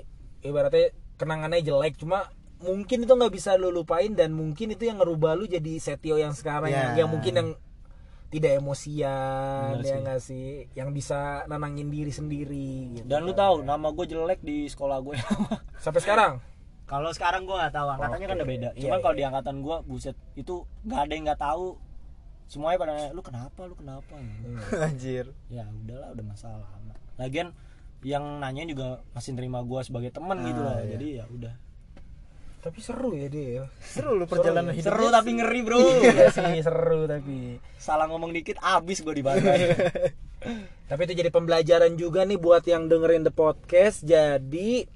S2: ibaratnya kenangannya jelek cuma mungkin itu nggak bisa lu lupain dan mungkin itu yang ngerubah lu jadi setio yang sekarang
S1: Ya.
S2: yang, yang mungkin yang tidak emosian
S3: Iya.
S2: ya
S3: Bener sih.
S2: nggak sih yang bisa nenangin diri sendiri gitu.
S3: Dan lu tahu nama gua jelek di sekolah gue.
S2: sampai sekarang
S3: kalau sekarang gua nggak tahu, angkatannya kan udah beda.
S2: Iya,
S3: Cuman
S2: iya.
S3: kalau di angkatan gua buset itu nggak ada yang nggak tahu. Semuanya pada nanya, lu kenapa, lu kenapa?
S1: Anjir.
S3: Ya udahlah, udah masalah lama. Lagian yang nanya juga masih nerima gua sebagai teman
S2: Ah,
S3: gitu loh.
S2: iya.
S3: Jadi ya udah.
S2: tapi seru ya dia ya.
S1: Seru lu perjalanan hidup.
S3: Seru tapi ngeri, Bro.
S2: Iya sih seru tapi
S3: Salah ngomong dikit abis gua dibantai.
S2: Tapi itu jadi pembelajaran juga nih buat yang dengerin the podcast. Jadi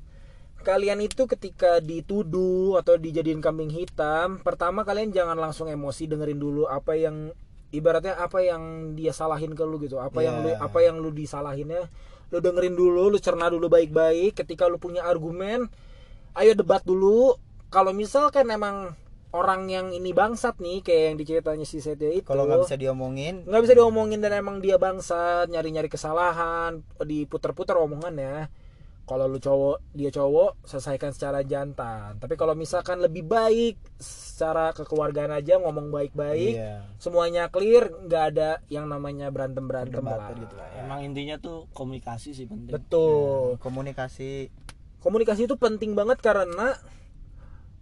S2: kalian itu ketika dituduh atau dijadiin kambing hitam, pertama kalian jangan langsung emosi dengerin dulu apa yang ibaratnya apa yang dia salahin ke lu gitu. Apa yang lu
S1: Iya.
S2: apa yang lu disalahinnya lu dengerin dulu, lu cerna dulu baik-baik. Ketika lu punya argumen, ayo debat dulu. Kalau misalkan emang orang yang ini bangsat nih kayak yang diceritanya si Setia itu
S1: Kalau nggak bisa diomongin,
S2: nggak bisa diomongin dan emang dia bangsa nyari-nyari kesalahan diputer-puter omongannya ya. kalau lu cowok dia cowok selesaikan secara jantan tapi kalau misalkan lebih baik secara kekeluargaan aja ngomong baik-baik
S1: Iya.
S2: semuanya clear nggak ada yang namanya berantem berantem
S1: Perdebatan
S2: lah
S1: gitu lah ya. Oh.
S3: Emang intinya tuh komunikasi sih penting.
S1: Iya,
S2: betul
S1: Komunikasi
S2: komunikasi itu penting banget karena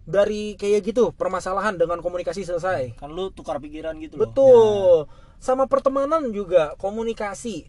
S2: dari kayak gitu permasalahan dengan komunikasi selesai
S3: Kan lu tukar pikiran gitu loh.
S2: Betul. Sama pertemanan juga komunikasi.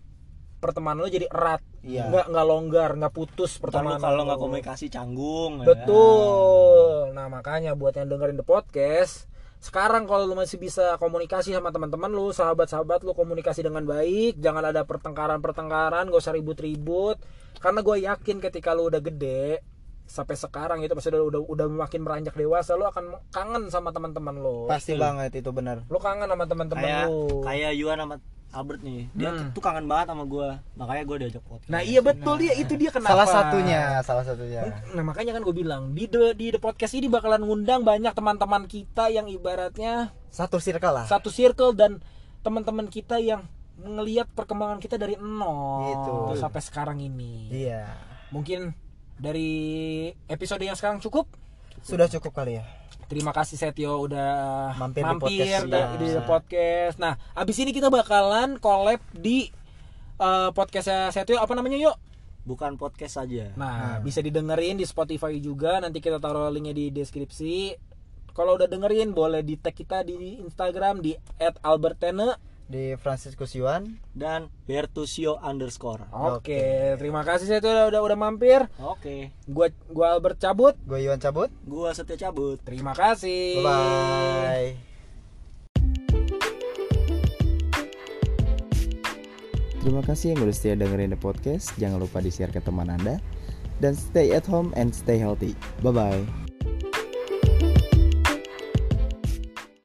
S2: Pertemanan lo jadi erat.
S1: Iya.
S2: Nggak nggak longgar, nggak putus
S3: Ntar lu
S2: pertemanan.
S3: kalau nggak
S2: lo.
S3: komunikasi canggung. ya.
S2: Betul. Nah, makanya buat yang dengerin the podcast, sekarang kalau lu masih bisa komunikasi sama teman-teman lu, sahabat-sahabat lu komunikasi dengan baik, jangan ada pertengkaran-pertengkaran, gak usah ribut-ribut. Karena gue yakin ketika lu udah gede sampai sekarang itu pasti udah udah, udah makin beranjak dewasa lu akan kangen sama teman-teman lu.
S1: pasti banget itu benar.
S2: Lu kangen sama teman-teman
S3: Kayak
S2: lu.
S3: kayak Yuan sama Albert nih. Dia
S2: Hmm.
S3: tuh kangen banget sama gua. Makanya gua diajak podcast.
S2: Nah iya betul dia itu dia kenapa.
S1: Salah satunya, salah satunya.
S2: Nah makanya kan gue bilang di the, di the podcast ini bakalan ngundang banyak teman-teman kita yang ibaratnya
S1: Satu circle lah.
S2: satu circle dan teman-teman kita yang ngelihat perkembangan kita dari nol
S1: Gitu.
S2: sampai sekarang ini.
S1: Iya.
S2: Mungkin dari episode yang sekarang cukup.
S1: Sudah cukup kali ya.
S2: Terima kasih Setio udah
S1: Mampir di
S2: mampir,
S1: podcast,
S2: da-
S1: iya.
S2: di, the podcast. Nah, abis ini kita bakalan collab di eh, podcastnya Setio apa namanya yuk?
S3: Bukan podcast saja.
S2: Nah, bisa didengerin di Spotify juga. Nanti kita taruh linknya di deskripsi. Kalau udah dengerin, boleh di tag kita di Instagram di @albertene.
S1: Di Franciscus Yuan.
S3: Dan Bertusio underscore.
S2: Oke,
S1: Oke.
S2: terima kasih saya tuh udah, udah udah mampir.
S3: Oke.
S2: Gua gua Albert cabut.
S1: Gue Yuan cabut.
S3: Gua setia cabut.
S2: Terima
S1: Bye
S2: kasih.
S1: bye.
S4: Terima kasih yang udah setia dengerin the podcast. Jangan lupa di-share ke teman Anda. Dan stay at home and stay healthy. Bye-bye.